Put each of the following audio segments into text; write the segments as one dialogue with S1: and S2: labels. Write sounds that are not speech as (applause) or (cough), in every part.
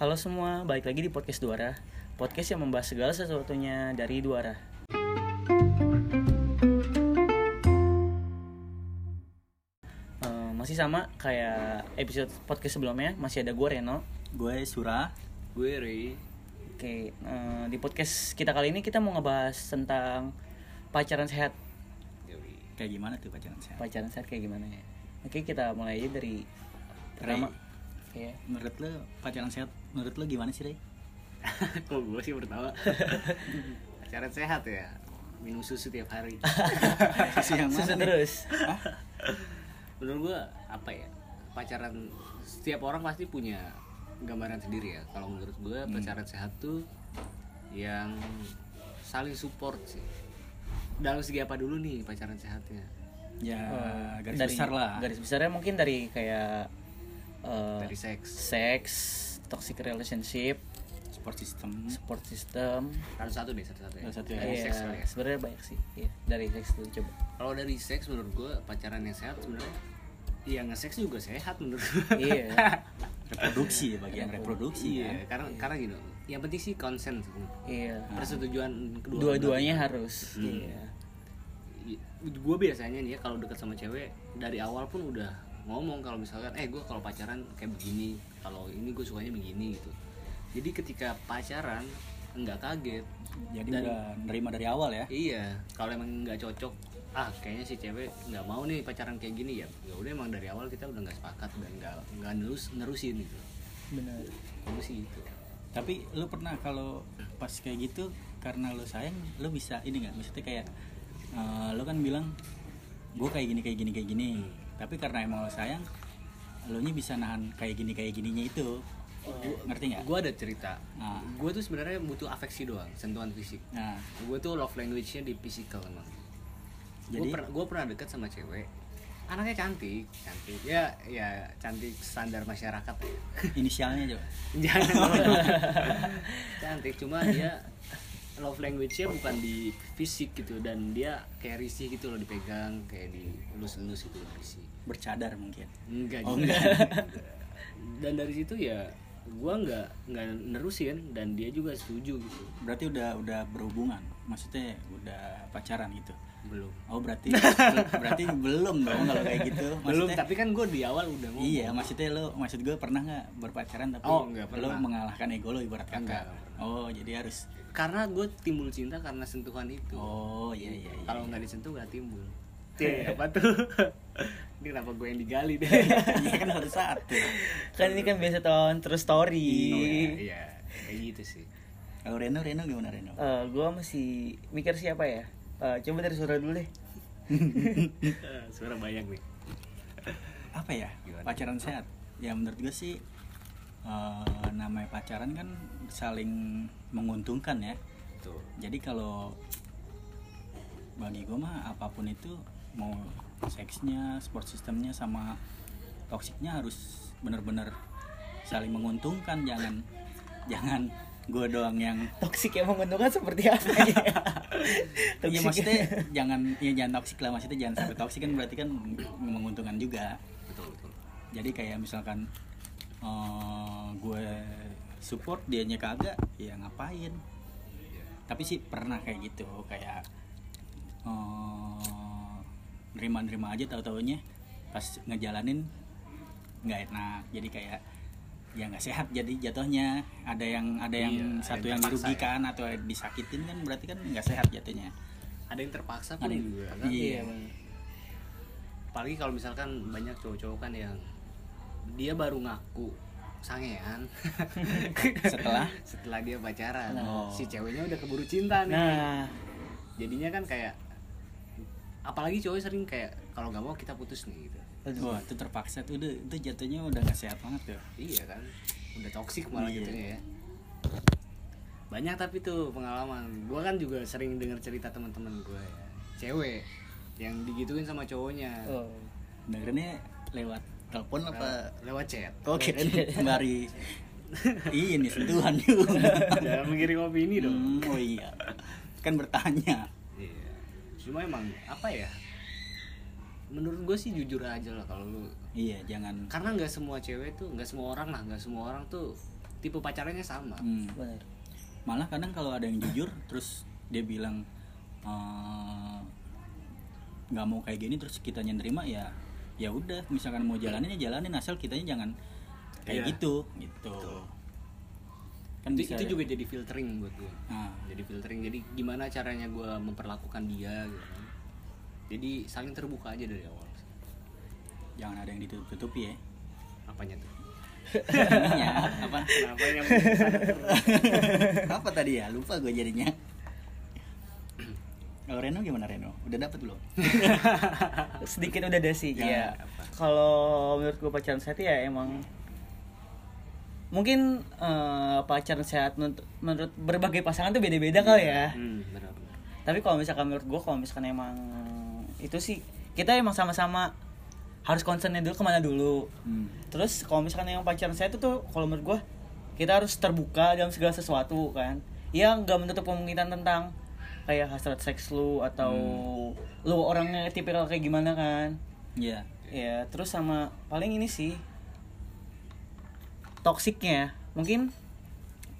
S1: Halo semua, balik lagi di podcast Duara. Podcast yang membahas segala sesuatunya dari Duara. Eh, masih sama kayak episode podcast sebelumnya, masih ada gue Reno.
S2: Gue Sura.
S3: Gue Ri
S1: Oke, eh, di podcast kita kali ini kita mau ngebahas tentang pacaran sehat.
S2: Kayak gimana tuh pacaran sehat?
S1: Pacaran sehat kayak gimana ya? Oke, kita mulai aja dari pertama. Oke.
S2: Menurut lo pacaran sehat menurut lo gimana sih, Rey?
S3: (laughs) Kok gue sih pertama Pacaran sehat ya Minum susu tiap hari
S2: Susu yang
S1: Susu
S2: mana? nih?
S1: terus.
S3: Menurut gue apa ya Pacaran Setiap orang pasti punya gambaran sendiri ya Kalau menurut gue pacaran sehat tuh Yang saling support sih Dalam segi apa dulu nih pacaran sehatnya
S2: Ya,
S1: Eh,
S2: garis
S1: dari-
S2: besar lah.
S1: Garis besarnya mungkin dari kayak eh,
S3: Dari seks
S1: seks, toxic relationship,
S2: Support system.
S3: Hmm?
S1: support system.
S3: Harus satu deh satu-satu ya
S2: Harus satu ya.
S3: Dari
S1: Iya,
S3: seks kali ya
S1: sebenarnya banyak sih. Iya, dari seks dulu
S3: (laughs)
S1: coba.
S3: Kalau dari seks menurut gue pacaran yang sehat sebenarnya Ya nge-seks juga sehat menurut gue
S1: iya.
S2: Reproduksi ya, bagian reproduksi
S3: Iya,
S2: ya.
S3: karena karena gini, yang penting sih konsen sih.
S1: Iya.
S3: Ah. Persetujuan kedua.
S1: Dua-duanya harus. Iya.
S3: Gue biasanya nih ya kalau deket sama cewek dari awal pun udah ngomong kalau misalkan eh gue kalau pacaran kayak begini, kalau ini gue sukanya begini gitu. Jadi ketika pacaran nggak kaget.
S2: Jadi
S3: Dan-
S2: udah nerima dari awal ya.
S3: Iya, kalau emang nggak cocok, ah kayaknya si cewek nggak mau nih pacaran kayak gini ya. Ya udah emang dari awal kita udah nggak sepakat dan nggak nggak nerus nerusin gitu.
S1: Benar.
S3: Gue sih gitu.
S2: Tapi lu pernah kalau pas kayak gitu karena lu sayang, lu bisa ini nggak? Maksudnya kayak eh, lu kan bilang gue kayak gini kayak gini kayak gini. Tapi karena emang lu sayang, lu nya bisa nahan kayak gini kayak gininya itu. Ngerti nggak?
S3: Gue ada cerita.
S2: Nah,
S3: Gue tuh sebenarnya butuh afeksi doang, sentuhan fisik.
S2: nah,
S3: gue tuh love language-nya di physical emang gue
S2: Jadi?
S3: pernah gue pernah deket sama cewek anaknya cantik cantik ya ya cantik standar masyarakat ya (laughs)
S2: inisialnya coba.
S3: jangan
S2: (laughs)
S3: cantik cuma dia love language-nya bukan di fisik gitu dan dia kayak risih gitu loh dipegang kayak dielus-elus gitu loh risih
S2: bercadar mungkin
S3: enggak
S2: Oh,
S3: juga (laughs) dan dari situ ya gue nggak nggak nerusin dan dia juga setuju gitu
S2: berarti udah udah berhubungan maksudnya udah pacaran gitu
S3: belum
S2: oh berarti berarti belum dong kalau kayak gitu
S3: belum
S2: maksudnya,
S3: tapi kan gue di awal udah ngomong
S2: iya maksudnya lo maksud gue pernah nggak berpacaran tapi
S3: Oh, nggak
S2: lo
S3: pernah.
S2: mengalahkan ego lo ibarat kata
S3: Nggak
S2: oh jadi harus
S3: karena gue timbul cinta karena sentuhan itu
S2: oh iya iya, iya.
S3: kalau nggak disentuh nggak
S2: (laughs)
S3: timbul Iya, apa tuh (laughs) ini kenapa gue yang digali deh
S2: (laughs) Iya kan harus satu
S1: Kan ini kan biasa tahun terus story.
S3: Oh, iya, iya kayak gitu
S2: (laughs)
S3: sih
S2: kalau Reno Reno gimana Reno
S1: Eh, gua masih mikir siapa ya? Eh, coba dari suara dulu deh.
S3: Eh, suara banyak nih
S2: apa ya
S3: Gimana?
S2: pacaran sehat ya menurut gue sih eh, namanya pacaran kan saling menguntungkan ya
S3: tuh
S2: jadi kalau bagi gue mah apapun itu mau seksnya sport sistemnya sama toksiknya harus bener-bener saling menguntungkan jangan jangan gue doang yang
S1: Toksik yang menguntungkan seperti apa
S3: (laughs)
S1: ya?
S2: Iya
S1: Toksik.
S2: maksudnya jangan ya jangan toksik lah maksudnya jangan sampai toksik kan berarti kan menguntungkan juga
S3: betul betul
S2: jadi kayak misalkan eh, gue support dianya kagak ya ngapain
S3: Iya.
S2: tapi sih pernah kayak gitu kayak eh, nerima-nerima aja tahu taunya pas ngejalanin nggak enak jadi kayak ya nggak sehat jadi jatuhnya ada yang ada yang
S3: Iya, ada
S2: satu
S3: yang
S2: yang,
S3: terpaksa ya.
S2: dirugikan atau disakitin kan berarti kan nggak sehat jatuhnya
S3: ada yang terpaksa pun
S2: Ada yang-
S3: juga kan
S2: iya.
S1: Iya, bener.
S3: apalagi kalau misalkan banyak cowok-cowok kan yang dia baru ngaku sangean
S2: (laughs) Setelah?
S3: setelah dia pacaran
S2: Oh.
S3: si ceweknya udah keburu cinta nih
S1: Nah,
S3: jadinya kan kayak apalagi cowok sering kayak kalau nggak mau kita putus nih gitu
S1: aduh.
S2: wah itu terpaksa tuh udah- itu jatuhnya udah nggak sehat banget tuh
S3: iya kan udah toksik malah
S2: Iya.
S3: gitu ya banyak tapi tuh pengalaman gua kan juga sering dengar cerita teman-teman gua ya cewek yang digituin sama cowoknya
S1: Oh.
S2: dengernya lewat telepon
S3: Lew-
S2: apa
S3: lewat chat
S2: Oke, (laughs) sembari ini
S3: (laughs)
S2: sentuhan juga.
S3: jangan mengirim opini dong
S2: Hmm, oh iya, kan bertanya.
S3: Iya. Cuma emang apa ya? Menurut gue sih jujur aja lah kalau lu
S2: Iya, jangan
S3: karena nggak semua cewek tuh nggak semua orang lah nggak semua orang tuh tipe pacarannya sama
S2: Hmm.
S1: benar
S2: malah kadang kalau ada yang jujur terus dia bilang "Eh, nggak mau kayak gini terus kitanya nerima ya ya udah misalkan mau jalanin ya jalanin asal kitanya jangan kayak
S3: Iya.
S2: gitu gitu kan
S3: itu,
S2: bisa
S3: itu juga jadi filtering buat gue
S2: Nah,
S3: jadi filtering jadi gimana caranya gue memperlakukan dia gitu kan. jadi saling terbuka aja dari awal
S2: jangan ada yang
S3: (laughs)
S2: ditutup-tutupi ya Iya.
S3: apanya tuh
S2: Ininya, apa
S3: kenapa yang saling
S2: (laughs)
S3: terbuka?
S2: apa tadi ya lupa gue jadinya (clears throat) kalau Reno gimana Reno udah dapet belum
S1: sedikit udah ada sih
S2: Ya,
S1: ya,
S2: apa.
S1: kalau menurut gue pacaran sehat ya emang mungkin eh, pacaran sehat menurut, menurut berbagai pasangan tuh beda-beda kali ya
S3: hmm, benar benar
S1: tapi kalau misalkan menurut gue kalau misalkan emang itu sih kita emang sama-sama harus concernnya dulu kemana dulu
S2: Hmm.
S1: terus kalau misalkan yang pacaran saya itu tuh kalau menurut gue kita harus terbuka dalam segala sesuatu kan ya nggak menutup kemungkinan tentang kayak hasrat seks lu atau lu orangnya tipikal kayak gimana kan
S2: ya
S1: ya terus sama paling ini sih toksiknya mungkin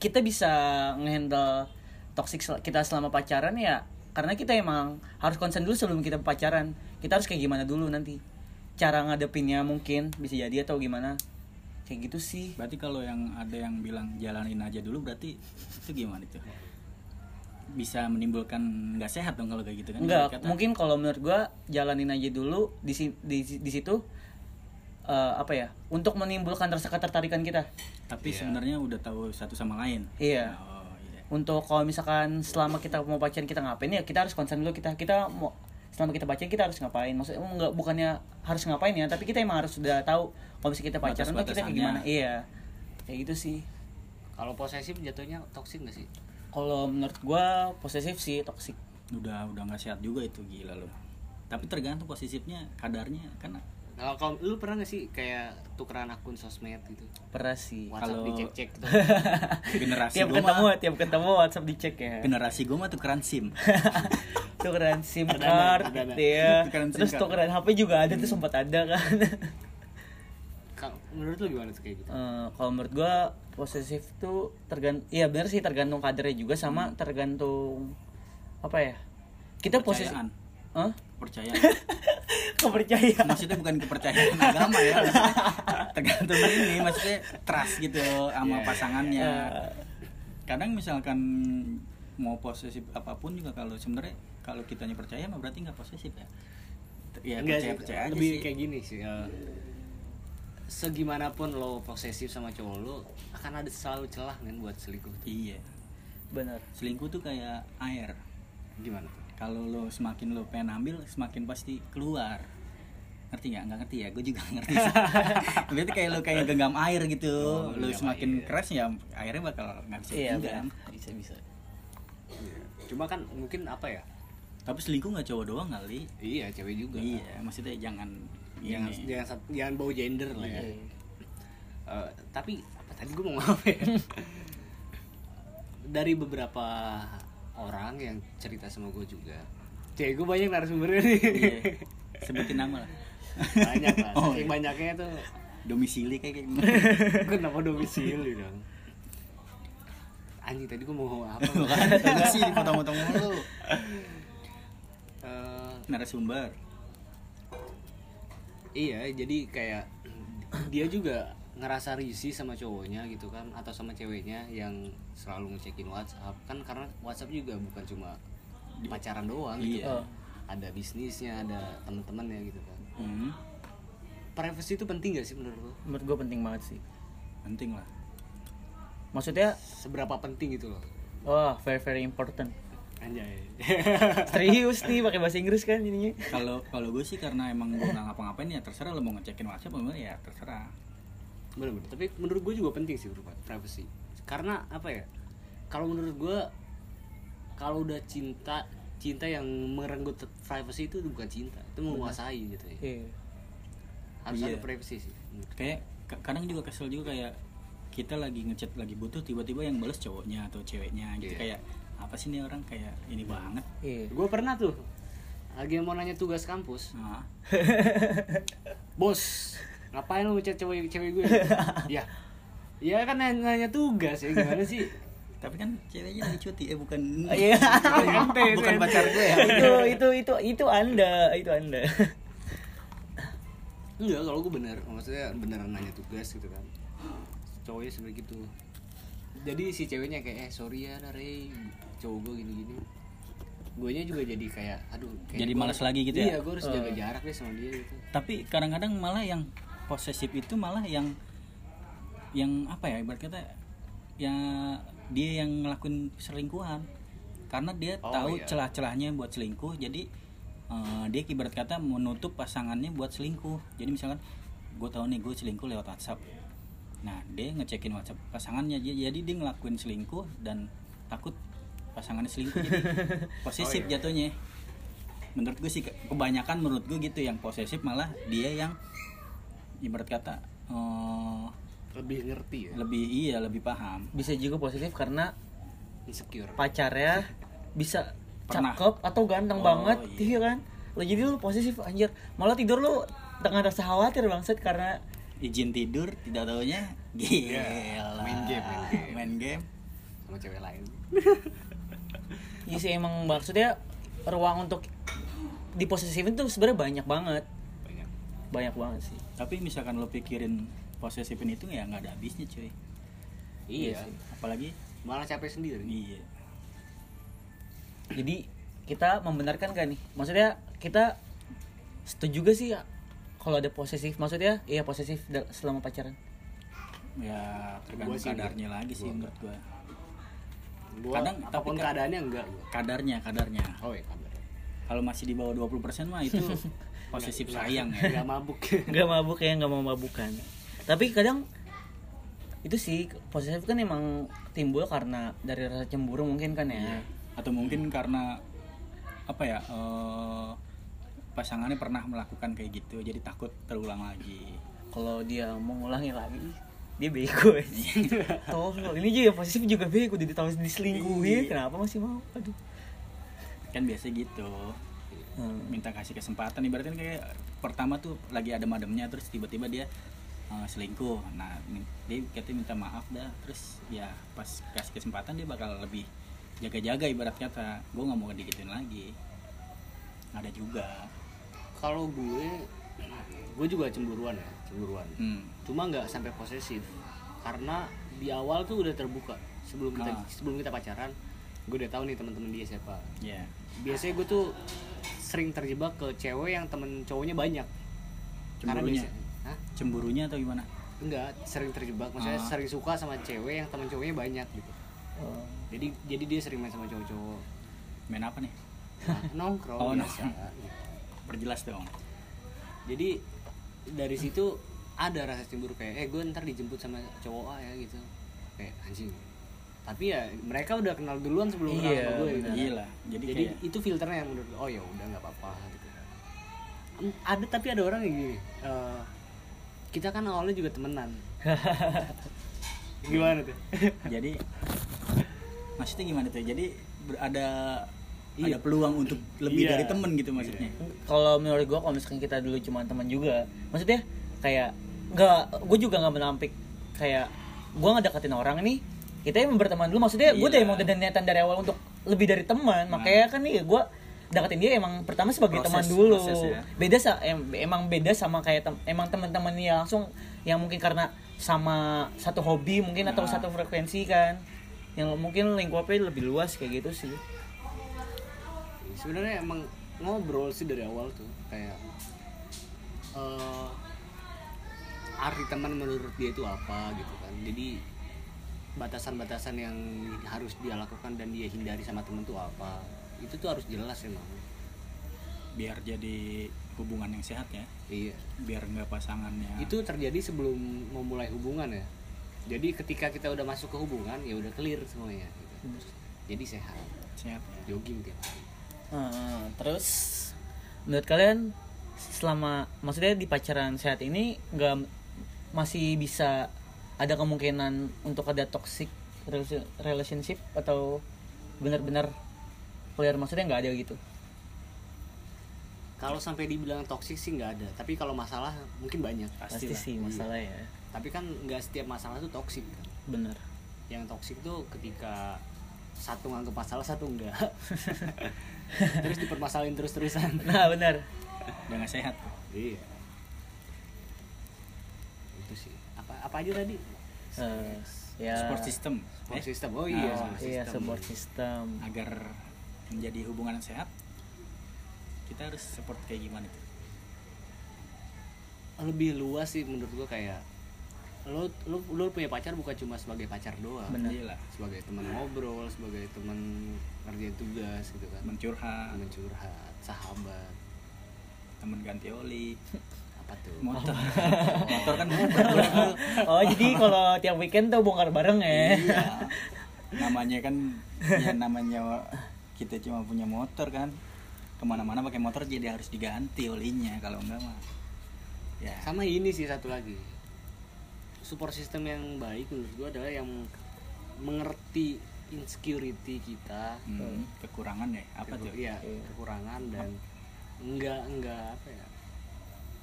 S1: kita bisa ngehandle toksik sel- kita selama pacaran ya karena kita emang harus konsen dulu sebelum kita pacaran kita harus kayak gimana dulu nanti cara ngadepinnya mungkin bisa jadi atau gimana kayak gitu sih
S2: berarti kalau yang ada yang bilang jalanin aja dulu berarti itu gimana itu bisa menimbulkan nggak sehat dong kalau kayak gitu kan
S1: Enggak,
S2: Kata-
S1: mungkin kalau menurut gua jalanin aja dulu di si- di, di situ eh, apa ya untuk menimbulkan rasa ketertarikan kita
S2: tapi
S3: Iya.
S2: sebenarnya udah tahu satu sama lain
S1: Iya.
S2: oh iya
S1: untuk kalau misalkan selama kita mau pacaran kita ngapain ya kita harus konsen dulu kita kita mau selama kita pacaran kita harus ngapain maksudnya enggak bukannya harus ngapain ya tapi kita emang harus sudah tahu kalau misalnya kita pacaran tuh kita kayak
S2: Batas-batasannya.
S1: gimana iya kayak gitu sih
S3: kalau posesif jatuhnya toksik gak sih
S1: kalau menurut gua posesif sih toksik
S2: udah udah nggak sehat juga itu gila loh tapi tergantung posisifnya kadarnya kan
S3: kalau kalau lu pernah gak sih kayak tukeran akun sosmed gitu
S1: pernah sih
S3: WhatsApp
S2: Kalau-
S3: dicek-cek gitu.
S1: Iya,
S2: generasi
S1: tiap
S2: gue
S1: ketemu
S2: mah
S1: tiap ketemu WhatsApp dicek ya
S2: generasi gue mah tukeran sim
S1: (laughs) tukeran SIM
S3: Perdana,
S1: card
S3: perdana.
S1: gitu ya.
S2: Tukeran SIM
S1: Terus
S2: card. Hmm.
S1: tukeran HP juga ada tuh sempat ada kan.
S3: Kal- menurut lu gimana tuh kayak gitu?
S1: Eh, kalau menurut gua posesif tuh tergantung iya benar sih tergantung kadernya juga sama tergantung apa ya? Kita posesif
S2: Kepercayaan.
S1: Hah?
S2: percaya
S1: (laughs) Kepercayaan.
S2: maksudnya bukan kepercayaan agama ya maksudnya tergantung ini maksudnya trust gitu sama
S3: Iya,
S2: pasangannya kadang misalkan mau posesif apapun juga kalau sebenarnya kalau kitanya percaya mah berarti nggak posesif ya ya percaya percaya aja
S3: lebih
S2: sih
S3: kayak gini sih. eh, segimanapun lo posesif sama cowok lo, akan ada selalu celah kan buat selingkuh. tuh.
S2: iya
S1: Benar.
S2: selingkuh tuh kayak air
S3: Gimana tuh?
S2: kalau lo semakin lo pengen ambil semakin pasti keluar ngerti nggak nggak ngerti ya gue juga nggak ngerti
S3: (laughs)
S2: sih. berarti kayak lo kayak genggam air gitu
S3: Oh,
S2: lo
S3: genggam
S2: semakin
S3: air.
S2: keras ya airnya bakal nggak bisa
S1: Iya,
S2: digenggam.
S1: benar. bisa bisa.
S2: Iya.
S3: Cuma kan mungkin apa ya?
S2: tapi selingkuh nggak cowok doang kali
S3: Iya, cewek juga.
S2: iya maksudnya jangan
S3: Jangan
S2: ini.
S3: jangan sat- jangan bawa gender lah ya.
S1: Iya.
S3: Eh, tapi apa tadi gue mau apa ya? Dari beberapa orang yang cerita sama gue juga. Cewek gue banyak narasumbernya nih.
S2: Iya. sebutin nama lah
S3: banyak lah.
S2: Oh,
S3: (laughs) Saking
S2: iya.
S3: banyaknya tuh
S2: domisili kayak gimana
S3: Kenapa domisili dong? Anjing tadi gue mau ngomong apa?
S2: (laughs) bukan sih dipotong-potong mulu
S3: Eh,
S2: narasumber
S3: iya, jadi kayak dia juga ngerasa risih sama cowoknya gitu kan atau sama ceweknya yang selalu ngecekin WhatsApp kan karena WhatsApp juga bukan cuma pacaran doang gitu
S2: Iya.
S3: kan. ada bisnisnya ada teman-temannya gitu kan
S2: hmm,
S3: privacy itu penting gak sih menurut lo
S1: Menurut gua penting banget sih.
S2: penting lah
S1: Maksudnya
S3: seberapa penting gitu loh
S1: wah very very important.
S3: anjay
S1: Serius nih pakai bahasa Inggris kan ininya.
S2: kalau kalau gue sih karena emang gue nggak ngapa-ngapain ya terserah lo mau ngecekin WhatsApp apa enggak ya terserah
S3: Bener-bener. Tapi menurut gue juga penting sih berupa privacy. Karena apa ya? Kalau menurut gue kalau udah cinta cinta yang merenggut privacy itu bukan cinta, itu menguasai gitu ya.
S1: Iya.
S3: Harus
S2: Iya.
S3: ada privacy sih. menurut gue.
S2: kayak ka- kadang juga kesel juga kayak kita lagi ngechat lagi butuh tiba-tiba yang bales cowoknya atau ceweknya gitu
S3: Iya.
S2: kayak apa sih nih orang kayak ini banget
S1: Iya.
S3: Gue pernah tuh lagi mau nanya tugas kampus,
S2: nah, (laughs)
S3: bos ngapain lu ngechat cewek cewek gue? ya ya kan nanya, nanya tugas ya gimana
S2: (laughs)
S3: sih
S2: Tapi kan ceweknya lagi cuti, eh bukan
S1: Iya. (laughs)
S3: Ente, ente,
S2: bukan
S3: ente.
S2: pacar gue
S3: (laughs)
S2: ya.
S1: itu itu itu itu anda itu anda (laughs)
S3: enggak kalau gue bener maksudnya beneran nanya tugas gitu kan cowoknya sebenernya gitu jadi si ceweknya kayak eh sorry ya Rey cowok gue gini gini guanya juga jadi kayak aduh kayak
S2: Jadi
S3: gua-
S2: malas lagi gitu ya?
S3: iya gue harus jaga jarak deh sama dia gitu
S2: Tapi kadang-kadang malah yang posesif itu malah yang yang apa ya ibarat kata ya dia yang ngelakuin selingkuhan karena dia
S3: Oh,
S2: tahu
S3: iya.
S2: celah-celahnya buat selingkuh jadi eh, dia ibarat kata menutup pasangannya buat selingkuh jadi misalkan gue tahu nih gue selingkuh lewat WhatsApp nah dia ngecekin WhatsApp pasangannya jadi jadi dia ngelakuin selingkuh dan takut pasangannya selingkuh jadi
S3: (laughs) Oh,
S2: posesif
S3: iya.
S2: jatuhnya menurut gue sih ke- kebanyakan menurut gue gitu yang posesif malah dia yang ibarat kata eh,
S3: lebih ngerti ya
S2: lebih iya lebih paham
S1: bisa juga positif karena
S3: insecure
S1: pacarnya ya, bisa
S2: Pernah.
S1: cakep atau ganteng
S2: Oh,
S1: banget
S2: iya.
S1: iya kan lo jadi lo posesif anjir malah tidur lo tengah rasa khawatir bangset karena
S2: izin tidur tidak taunya gila
S3: Iya, Main game, main game.
S2: Main game.
S3: sama cewek lain
S1: ya sih emang maksudnya ruang untuk diposesifin tuh sebenarnya banyak banget
S3: banyak
S1: banyak banget sih
S2: tapi misalkan lo pikirin posesifin itu ya nggak ada habisnya cuy
S3: iya,
S2: sih. apalagi
S3: malah capek sendiri
S2: iya
S1: jadi kita membenarkan gak nih maksudnya kita setuju gak sih ya kalau ada posesif maksudnya iya posesif da- selama pacaran
S2: ya tergantung
S3: Gua sih
S2: kadarnya
S3: enggak.
S2: lagi sih
S3: Gua
S2: menurut gua
S3: gua,
S2: Kadang, tapi
S3: apapun
S2: kan-
S3: keadaannya enggak gua.
S2: kadarnya kadarnya
S3: oh iya kabar
S2: kalau masih di bawah 20% mah
S3: (laughs)
S2: itu posesif sayang ya
S3: nggak mabuk (laughs)
S1: nggak mabuk ya nggak mau mabukan tapi kadang itu sih posesif kan emang timbul karena dari rasa cemburu mungkin kan ya
S2: atau mungkin karena apa ya eh, pasangannya pernah melakukan kayak gitu jadi takut terulang lagi
S1: kalau dia mengulangi lagi dia bego tolol ini juga yang posesif juga bego jadi tahu diselingkuhi kenapa masih mau aduh
S2: kan biasa gitu
S1: Hmm.
S2: minta kasih kesempatan ibaratnya kayak pertama tuh lagi ada mademnya terus tiba-tiba dia eh, selingkuh nah min- dia katanya minta maaf dah terus ya pas kasih kesempatan dia bakal lebih jaga-jaga ibarat kata gue nggak mau digituin lagi ada juga
S3: kalau gue gue juga cemburuan ya cemburuan
S2: hmm.
S3: cuma nggak sampai posesif karena di awal tuh udah terbuka sebelum kita
S2: Ah.
S3: sebelum kita pacaran gue udah tahu nih teman-teman dia siapa
S2: ya
S3: biasanya gue tuh sering terjebak ke cewek yang temen cowoknya banyak karena
S2: Cemburunya.
S3: biasa Hah?
S2: cemburunya atau gimana
S3: enggak sering terjebak maksudnya
S2: Ah.
S3: sering suka sama cewek yang temen cowoknya banyak gitu
S1: Oh.
S3: jadi jadi dia sering main
S2: (laughs)
S3: sama cowok-cowok
S2: main apa nih
S3: Nah, nongkrong
S2: Oh,
S3: biasa. Gitu.
S2: nongkrong. perjelas dong
S3: jadi dari situ ada rasa cemburu kayak eh gue ntar dijemput sama cowok A ya gitu kayak anjing tapi ya mereka udah kenal duluan sebelum kenal
S1: Iya,
S3: sama gue gitu
S2: iya lah jadi,
S3: jadi,
S2: kayak
S3: itu filternya yang menurut gue oh ya udah nggak apa-apa gitu Em, ada tapi ada orang yang gini eh, kita kan awalnya juga temenan gimana tuh
S2: jadi (laughs) maksudnya gimana tuh jadi ber- ada ada peluang untuk lebih
S3: Iya.
S2: dari temen gitu maksudnya
S1: Iya. kalau menurut gua kalau misalkan kita dulu cuma teman juga maksudnya kayak nggak gue juga nggak menampik kayak gua ngedeketin orang nih kita yang berteman dulu maksudnya gue udah
S2: Iya. Nah.
S1: emang udah niatan dari awal untuk lebih dari teman makanya kan nih gua deketin dia emang pertama sebagai
S2: Proses-
S1: teman dulu
S2: proses ya.
S1: beda sa- em- emang beda sama kayak tem- emang teman-teman yang langsung yang mungkin karena sama satu hobi mungkin atau
S2: Nah.
S1: satu frekuensi kan yang mungkin lingkupnya lebih luas kayak gitu sih
S3: sebenarnya emang ngobrol sih dari awal tuh kayak eh arti teman menurut dia itu apa gitu kan jadi batasan-batasan yang harus dia lakukan dan dia hindari sama temen tuh apa itu tuh harus jelas emang
S2: biar jadi hubungan yang sehat ya
S3: iya
S2: biar nggak pasangannya
S3: itu terjadi sebelum memulai hubungan ya jadi ketika kita udah masuk ke hubungan ya udah clear semuanya gitu. jadi sehat
S2: sehat ya.
S3: jogging tiap hari
S1: Heeh, terus menurut kalian selama maksudnya di pacaran sehat ini nggak masih bisa ada kemungkinan untuk ada toxic relasi- relationship atau benar-benar clear maksudnya nggak ada gitu
S3: kalau sampai dibilang toksik sih nggak ada tapi kalau masalah mungkin banyak
S1: pasti,
S2: lah.
S1: sih masalah ya
S3: tapi kan nggak setiap masalah tuh toksik kan
S2: bener
S3: yang toksik tuh ketika satu nganggep masalah satu
S1: (laughs)
S3: enggak terus dipermasalahin terus terusan
S1: (laughs) nah benar
S2: udah nggak sehat tuh.
S3: iya itu sih apa apa aja tadi
S1: Eh, ya
S2: support system
S3: support
S2: Eh,
S3: system
S1: Oh,
S3: oh iya
S1: iya support system
S2: agar menjadi hubungan yang sehat kita harus support kayak gimana tuh
S3: Kan. lebih luas sih menurut gua kayak lo lo lo punya pacar bukan cuma sebagai pacar doang
S1: Bener.
S2: Iya lah
S3: sebagai teman ngobrol sebagai teman ngerjain tugas gitu kan
S2: teman curhat
S3: teman curhat sahabat
S2: teman ganti oli
S3: (laughs) apa tuh (laughs)
S2: motor motor
S3: Iya.
S2: kan motor
S1: oh jadi kalau tiap weekend tuh bongkar bareng ya
S2: iya namanya kan ya namanya kita cuma punya motor kan kemana-mana pakai motor jadi harus diganti olinya kalau enggak mah ya
S3: sama ini sih satu lagi support system yang baik menurut gua adalah yang mengerti insecurity kita
S2: hmm, kekurangan ya apa tuh
S3: Iya,
S1: Iya.
S3: kekurangan dan enggak enggak apa ya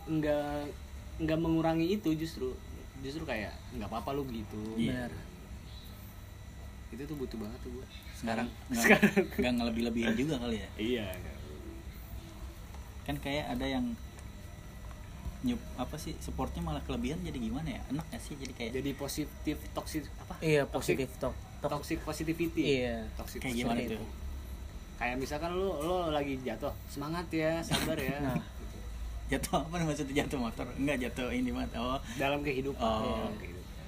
S3: enggak enggak mengurangi itu justru justru kayak nggak apa-apa lu gitu
S2: Iya.
S1: Benar.
S3: itu tuh butuh banget tuh gua
S2: sekarang
S3: Hmm.
S2: nggak ngelebih-lebihin juga kali ya
S3: (laughs) iya
S2: kan kayak ada yang nyup apa sih supportnya malah kelebihan jadi gimana ya enak gak sih jadi kayak
S3: jadi positif toxic apa
S1: iya
S3: Toxic-
S1: positif talk Talk-
S3: toxic positivity
S1: Iya.
S3: toxic
S2: kayak gimana
S1: seperti
S2: tuh
S1: itu.
S3: kayak misalkan lu lo lagi jatuh semangat ya sabar ya
S1: Nah.
S3: Gitu.
S2: jatuh apa maksudnya jatuh motor enggak jatuh ini mah oh
S3: dalam kehidupan
S2: Oh.
S3: Dalam kehidupan.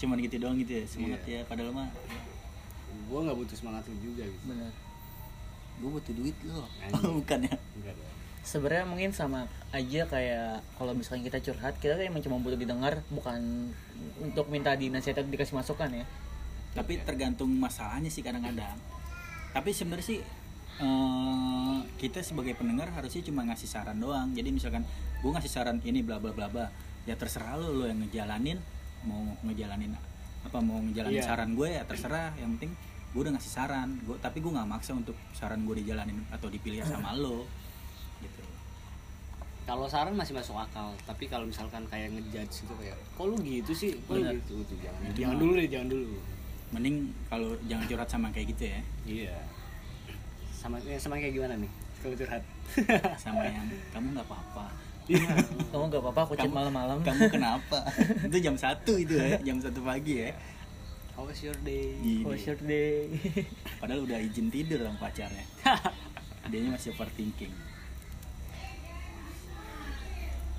S2: cuman gitu doang gitu ya semangat ya
S3: Iya.
S2: padahal mah
S3: gua nggak butuh semangat lu juga gitu
S1: benar
S2: gue butuh duit loh
S3: Anjing.
S2: (laughs) bukan ya
S3: enggak dong
S1: sebenarnya mungkin sama aja kayak kalau misalnya kita curhat kita tuh emang cuma butuh didengar bukan untuk minta dinasihat atau dikasih masukan ya
S2: tapi tergantung masalahnya sih kadang-kadang tapi sebenarnya sih eh, kita sebagai pendengar harusnya cuma ngasih saran doang jadi misalkan gue ngasih saran ini bla bla bla bla ya terserah lo lo yang ngejalanin mau ngejalanin apa mau ngejalanin
S3: Iya.
S2: saran gue ya terserah yang penting gue udah ngasih saran gue tapi gue nggak maksa untuk saran gue dijalanin atau dipilih sama lo gitu
S3: kalau saran masih masuk akal tapi kalau misalkan kayak ngejudge gitu kayak kok lu gitu sih kok lu
S2: Benar.
S3: gitu Tuh, jangan
S2: Itu
S3: jangan
S2: mah.
S3: dulu deh jangan dulu
S2: mending kalau jangan curhat sama kayak gitu ya
S3: iya sama ya, sama kayak gimana nih kalau curhat
S2: sama yang kamu nggak apa-apa Iya.
S1: kamu gak apa-apa aku chat
S2: Kamu-
S3: Oh.
S1: malam-malam (laughs)
S2: kamu kenapa (laughs) itu jam satu itu ya jam satu pagi ya
S3: (laughs) how was your day
S2: Gini.
S1: oh sure (laughs) deh
S2: padahal udah izin tidur sama pacarnya (laughs) dianya masih overthinking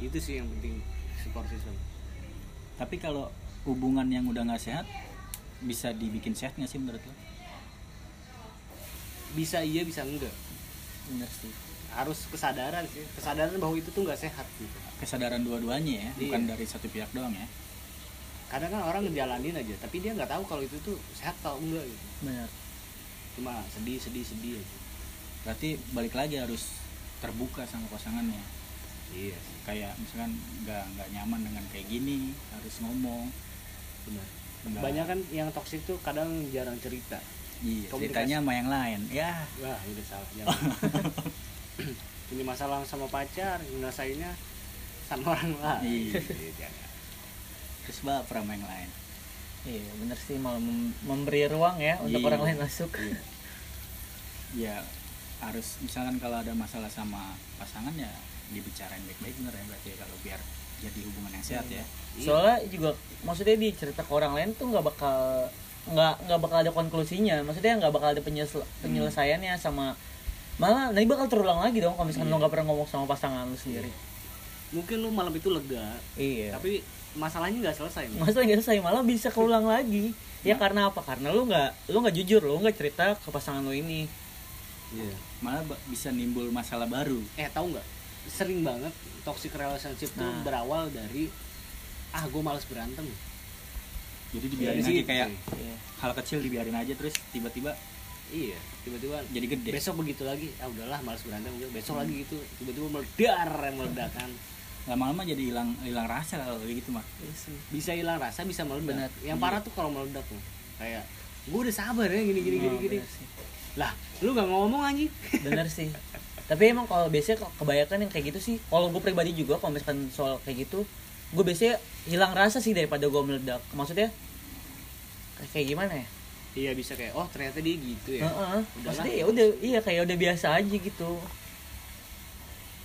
S3: itu sih yang penting support system
S2: tapi kalau hubungan yang udah nggak sehat bisa dibikin sehat nggak sih menurut lo
S3: bisa iya bisa enggak
S1: benar sih
S3: harus kesadaran sih kesadaran bahwa itu tuh nggak sehat gitu
S2: kesadaran dua-duanya ya bukan
S3: Iya.
S2: dari satu pihak doang ya
S3: kadang kan orang ngejalanin aja tapi dia nggak tahu kalau itu tuh sehat atau enggak gitu
S1: benar
S3: cuma sedih sedih sedih aja
S2: berarti balik lagi harus terbuka sama pasangannya
S3: iya
S2: kayak misalkan nggak nggak nyaman dengan kayak gini harus ngomong
S3: benar
S2: Benar.
S3: banyak kan yang toksik tuh kadang jarang cerita
S2: iya
S3: Komunikasi.
S2: ceritanya sama yang lain ya
S3: wah udah salah
S2: (laughs)
S3: jangan punya masalah sama pacar ngerasainnya sama orang lain
S2: Iya.
S3: Jangan.
S2: terus baper sama yang lain
S1: iya benar sih malah mem- memberi ruang ya untuk
S2: Iya.
S1: orang lain masuk
S2: ya harus misalkan kalau ada masalah sama pasangan ya dibicarain baik-baik bener ya berarti ya, kalau biar jadi hubungan yang sehat ya
S1: (laughs) soalnya juga maksudnya di cerita ke orang lain tuh nggak bakal nggak nggak bakal ada konklusinya maksudnya nggak bakal ada penyesel-
S2: Hmm.
S1: penyelesaiannya sama malah nanti bakal terulang lagi dong kalau misalkan
S2: Iya.
S1: lo nggak pernah ngomong sama pasangan lo sendiri
S3: mungkin lu malam itu lega
S1: iya
S3: tapi masalahnya nggak selesai Mas.
S1: masalah nggak selesai gitu, malah bisa keulang lagi ya karena apa karena lo nggak lo nggak jujur lo nggak cerita ke pasangan lo ini
S3: Iya.
S2: malah ba- bisa nimbul masalah baru
S3: eh tahu nggak sering banget toxic relationship tuh
S1: Nah.
S3: berawal dari ah gue males berantem
S2: jadi dibiarin
S3: Iya,
S2: aja
S3: gitu.
S2: kayak
S1: Iya.
S2: hal kecil dibiarin aja terus tiba-tiba
S3: iya tiba-tiba
S2: jadi gede
S3: besok begitu lagi ah udahlah males berantem udah besok
S1: Hmm.
S3: lagi gitu tiba-tiba meledar meledakan
S2: lama-lama jadi hilang hilang rasa kalau kayak gitu mah
S1: Iya sih.
S3: bisa hilang rasa bisa
S1: Benar.
S3: meledak yang parah tuh kalau meledak tuh kayak gue udah sabar ya gini gini gini
S1: Oh,
S3: gini
S1: benar sih.
S3: lah lu gak ngomong anjing (laughs)
S1: bener sih tapi emang kalau biasanya kalau kebanyakan yang kayak gitu sih kalau gue pribadi juga kalau misalkan soal kayak gitu gue biasanya hilang rasa sih daripada gue meledak maksudnya kayak gimana ya
S3: iya bisa kayak oh ternyata dia gitu ya
S1: Heeh.
S3: Udahlah.
S1: maksudnya ya udah iya kayak udah biasa aja gitu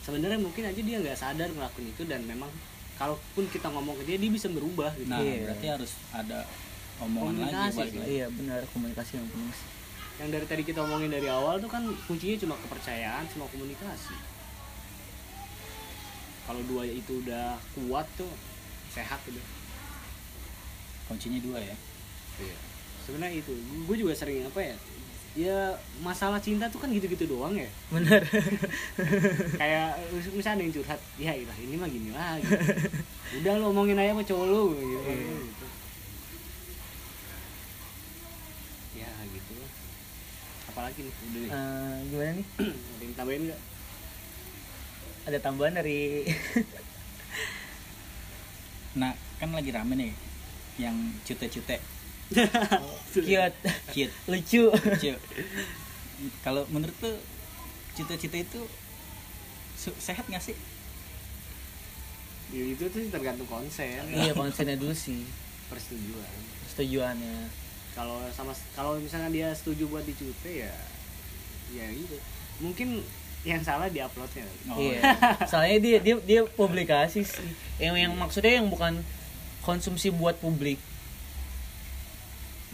S3: sebenarnya mungkin aja dia nggak sadar ngelakuin itu dan memang kalaupun kita ngomong ke dia dia bisa berubah gitu
S2: nah
S1: Iya.
S2: berarti harus ada omongan lagi
S3: Komunikasi
S2: balik
S3: sih.
S2: lagi
S1: iya benar komunikasi yang penting sih.
S3: yang dari tadi kita omongin dari awal tuh kan kuncinya cuma kepercayaan sama komunikasi kalau dua itu udah kuat tuh sehat gitu. udah
S2: kuncinya dua ya
S3: Iya. Sebenarnya itu. Gue juga sering apa ya? Ya masalah cinta tuh kan gitu-gitu doang ya.
S1: benar Iya.
S3: Kayak mis- misalnya ada yang curhat, ya ilah ini mah gini lah. Gitu. Udah lo omongin aja sama cowok lo gitu. gitu. Ya gitu. lah. Apalagi nih udah nih.
S1: Eh, gimana nih
S3: (clears throat) ada yang tambahin nggak?
S1: ada tambahan dari (laughs)
S2: nah kan lagi rame nih yang cute-cute
S1: kiat
S2: cute
S1: lucu
S2: Cuk. Kalau menurut tuh cita-cita itu su- sehat nggak sih?
S3: Ya, itu tuh tergantung konsen,
S1: iya konsennya dulu sih
S3: persetujuan.
S1: setujuannya
S3: kalau sama kalau misalnya dia setuju buat dicute ya ya gitu mungkin yang salah di uploadnya
S2: Oh,
S1: iya soalnya dia dia dia publikasi sih yang yang maksudnya yang bukan konsumsi buat publik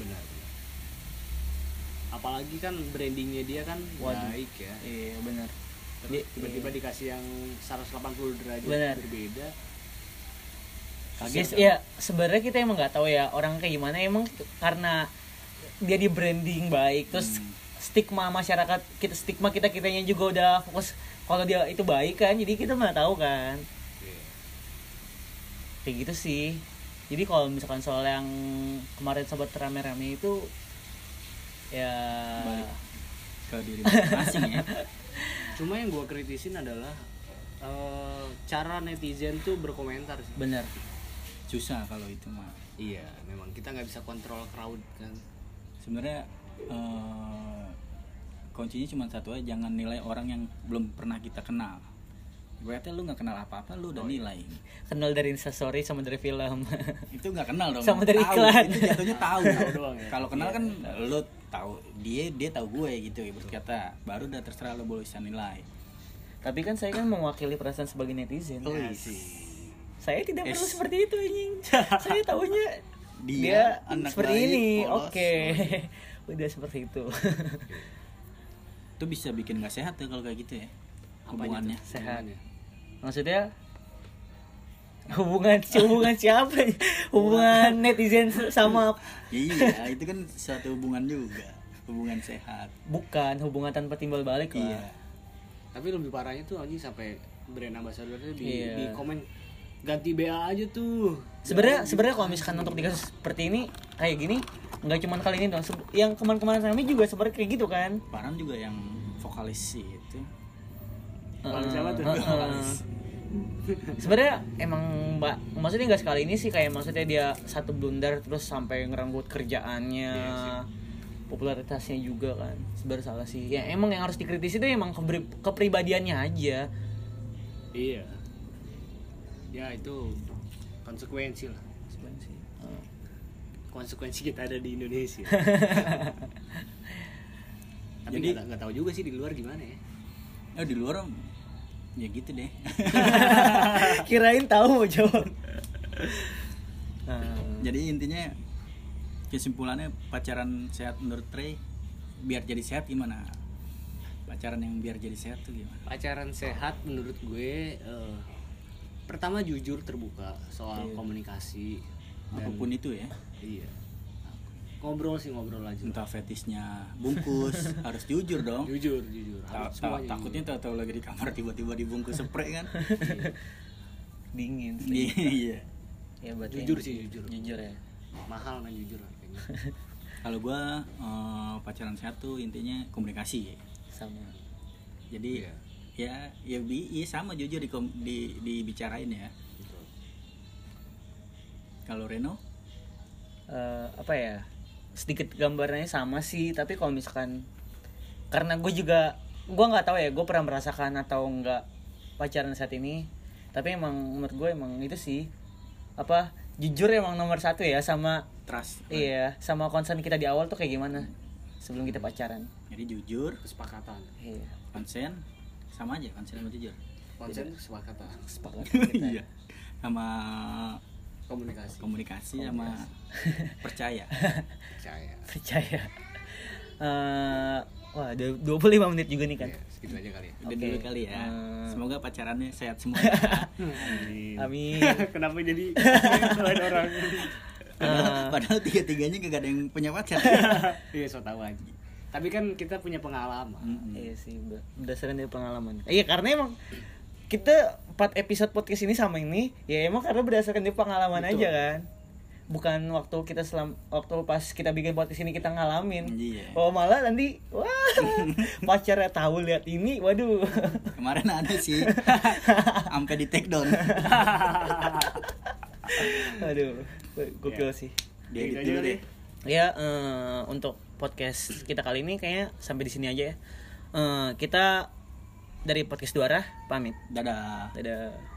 S3: benar benar apalagi kan brandingnya dia kan
S1: Waduh.
S3: baik ya
S1: iya benar
S3: Terus
S1: Dia-
S3: tiba-tiba dikasih yang 180 derajat
S1: Benar.
S3: berbeda
S1: Kaget ya sebenarnya kita emang nggak tahu ya orang kayak gimana emang karena dia di branding baik terus stigma masyarakat kita stigma kita kitanya juga udah fokus kalau dia itu baik kan jadi kita mana tahu kan
S3: Iya.
S1: kayak gitu sih jadi kalau misalkan soal yang kemarin sobat rame-rame itu ya
S2: Balik. Ke diri masing-masing ya.
S3: cuma yang gua kritisin adalah eh, cara netizen tuh berkomentar sih.
S1: bener
S2: Susah kalau itu mah.
S3: iya memang kita nggak bisa kontrol crowd kan
S2: Sebenarnya eh, kuncinya cuma satu aja, jangan nilai orang yang belum pernah kita kenal. Berarti lu nggak kenal apa-apa, lu udah nilai.
S1: kenal dari instastory sama dari film (laughs)
S2: Itu nggak kenal dong.
S1: Sama dari
S2: Tahu,
S1: iklan.
S2: Itu jatuhnya tahu.
S3: doang ya.
S2: Kalau kenal kan lu tahu dia dia tahu gue gitu ibarat kata. Baru udah terserah lu boleh bisa nilai.
S1: tapi kan saya kan mewakili perasaan sebagai netizen
S2: Oh,
S3: Iya
S2: iya.
S1: saya tidak perlu
S2: Es.
S1: seperti itu
S2: (laughs)
S1: anjing saya taunya
S2: Dia
S1: dia,
S2: anak
S1: seperti
S2: baik,
S1: ini
S2: polos. oh, iya.
S1: oke (laughs) udah seperti
S2: (laughs)
S1: itu
S2: itu bisa bikin nggak sehat ya kalau kayak gitu ya hubungannya
S3: gitu?
S1: sehat
S2: ya?
S1: maksudnya hubungan hubungan siapa
S2: (laughs)
S1: nih? hubungan netizen sama
S2: (laughs) iya itu kan suatu hubungan juga hubungan sehat
S1: bukan hubungan tanpa timbal balik lah.
S2: iya
S3: tapi lebih parahnya tuh anjing sampai brand ambassadornya di,
S1: Iya.
S3: di komen ganti BA aja tuh
S1: sebenarnya sebenarnya kalau misalkan untuk di kasus seperti ini kayak gini nggak cuman kali ini dong Se- yang kemarin-kemarin kami juga sebenarnya kayak gitu kan
S2: Paran juga yang vokalis sih itu
S3: Kalau siapa tuh?
S1: sebenarnya emang mbak maksudnya nggak sekali ini sih kayak maksudnya dia satu blunder terus sampai ngerenggut kerjaannya
S3: Iya
S1: popularitasnya juga kan sebenarnya salah sih ya emang yang harus dikritisi itu emang kebri- kepribadiannya aja
S3: (laughs) iya ya itu konsekuensi lah
S1: Sebenarnya sih. Eh,
S3: Iya. konsekuensi kita ada di (laughs) Indonesia tapi
S2: Jadi-
S3: nggak nggak tahu juga sih di luar gimana ya
S2: oh di luar ya gitu deh (laughs)
S1: (laughs) kirain tahu mau jawab Eh,
S2: jadi intinya kesimpulannya pacaran sehat menurut Trey biar jadi sehat gimana pacaran yang biar jadi sehat tuh gimana
S3: pacaran sehat menurut gue eh, pertama jujur terbuka soal komunikasi dan
S2: apapun itu ya
S3: iya ngobrol sih ngobrol aja
S2: entah fetishnya bungkus
S3: (laughs)
S2: harus jujur dong
S3: jujur jujur
S2: Ta-
S3: harus
S2: ta-
S3: semuanya
S2: takutnya tahu-tahu lagi di kamar tiba-tiba dibungkus spray kan
S3: (laughs)
S1: dingin sih.
S2: iya
S1: ya berarti
S3: Jujur
S1: yang-
S3: sih, jujur.
S1: jujur ya
S3: jujur. mahal kan jujur harganya.
S2: kalau gua eh, pacaran sehat tuh intinya komunikasi
S1: sama
S2: jadi ya ya bi iya sama jujur di, di dibicarain ya
S3: Gitu.
S2: kalau Reno
S1: eh, apa ya sedikit gambarnya sama sih tapi kalau misalkan karena gue juga gue nggak tahu ya gue pernah merasakan atau nggak pacaran saat ini tapi emang menurut gue emang itu sih apa jujur emang nomor satu ya sama
S2: trust
S1: iya sama concern kita di awal tuh kayak gimana sebelum kita pacaran
S2: jadi jujur
S3: kesepakatan
S1: iya
S2: konsen sama aja konsen sama jujur
S3: konsen itu kesepakatan
S1: sepakat kita. ya.
S2: iya sama
S3: komunikasi
S2: komunikasi sama percaya
S3: percaya
S1: percaya Eh, wah udah 25 menit juga nih kan
S3: ya, segitu aja kali ya
S2: udah
S1: Oke.
S2: dulu kali ya
S1: Hmm.
S2: semoga pacarannya
S1: (laughs)
S2: sehat semua ya.
S3: (laughs)
S1: amin
S3: kenapa jadi lain orang
S2: padahal, padahal tiga-tiganya gak ada yang punya
S1: (laughs)
S2: pacar
S3: iya so tau aja tapi kan kita punya pengalaman
S2: Mm-mm.
S1: Iya sih, ber- berdasarkan dari pengalaman. Iya, karena emang kita 4 episode podcast ini sama ini ya emang karena berdasarkan dari pengalaman aja kan. Bukan waktu kita selam waktu pas kita bikin podcast ini kita ngalamin.
S2: Iya.
S1: Oh, malah nanti wah pacarnya tahu lihat ini, waduh.
S2: kemarin ada sih sampai di take down
S1: Aduh, gokil sih.
S2: dia
S3: Gitu
S2: gitu
S3: aja
S2: dulu
S3: kali
S2: deh
S3: ya.
S1: Ya, eh, untuk podcast kita kali ini kayaknya sampai di sini aja ya. Eh, kita dari podcast Duara pamit.
S2: dadah
S1: Dadah.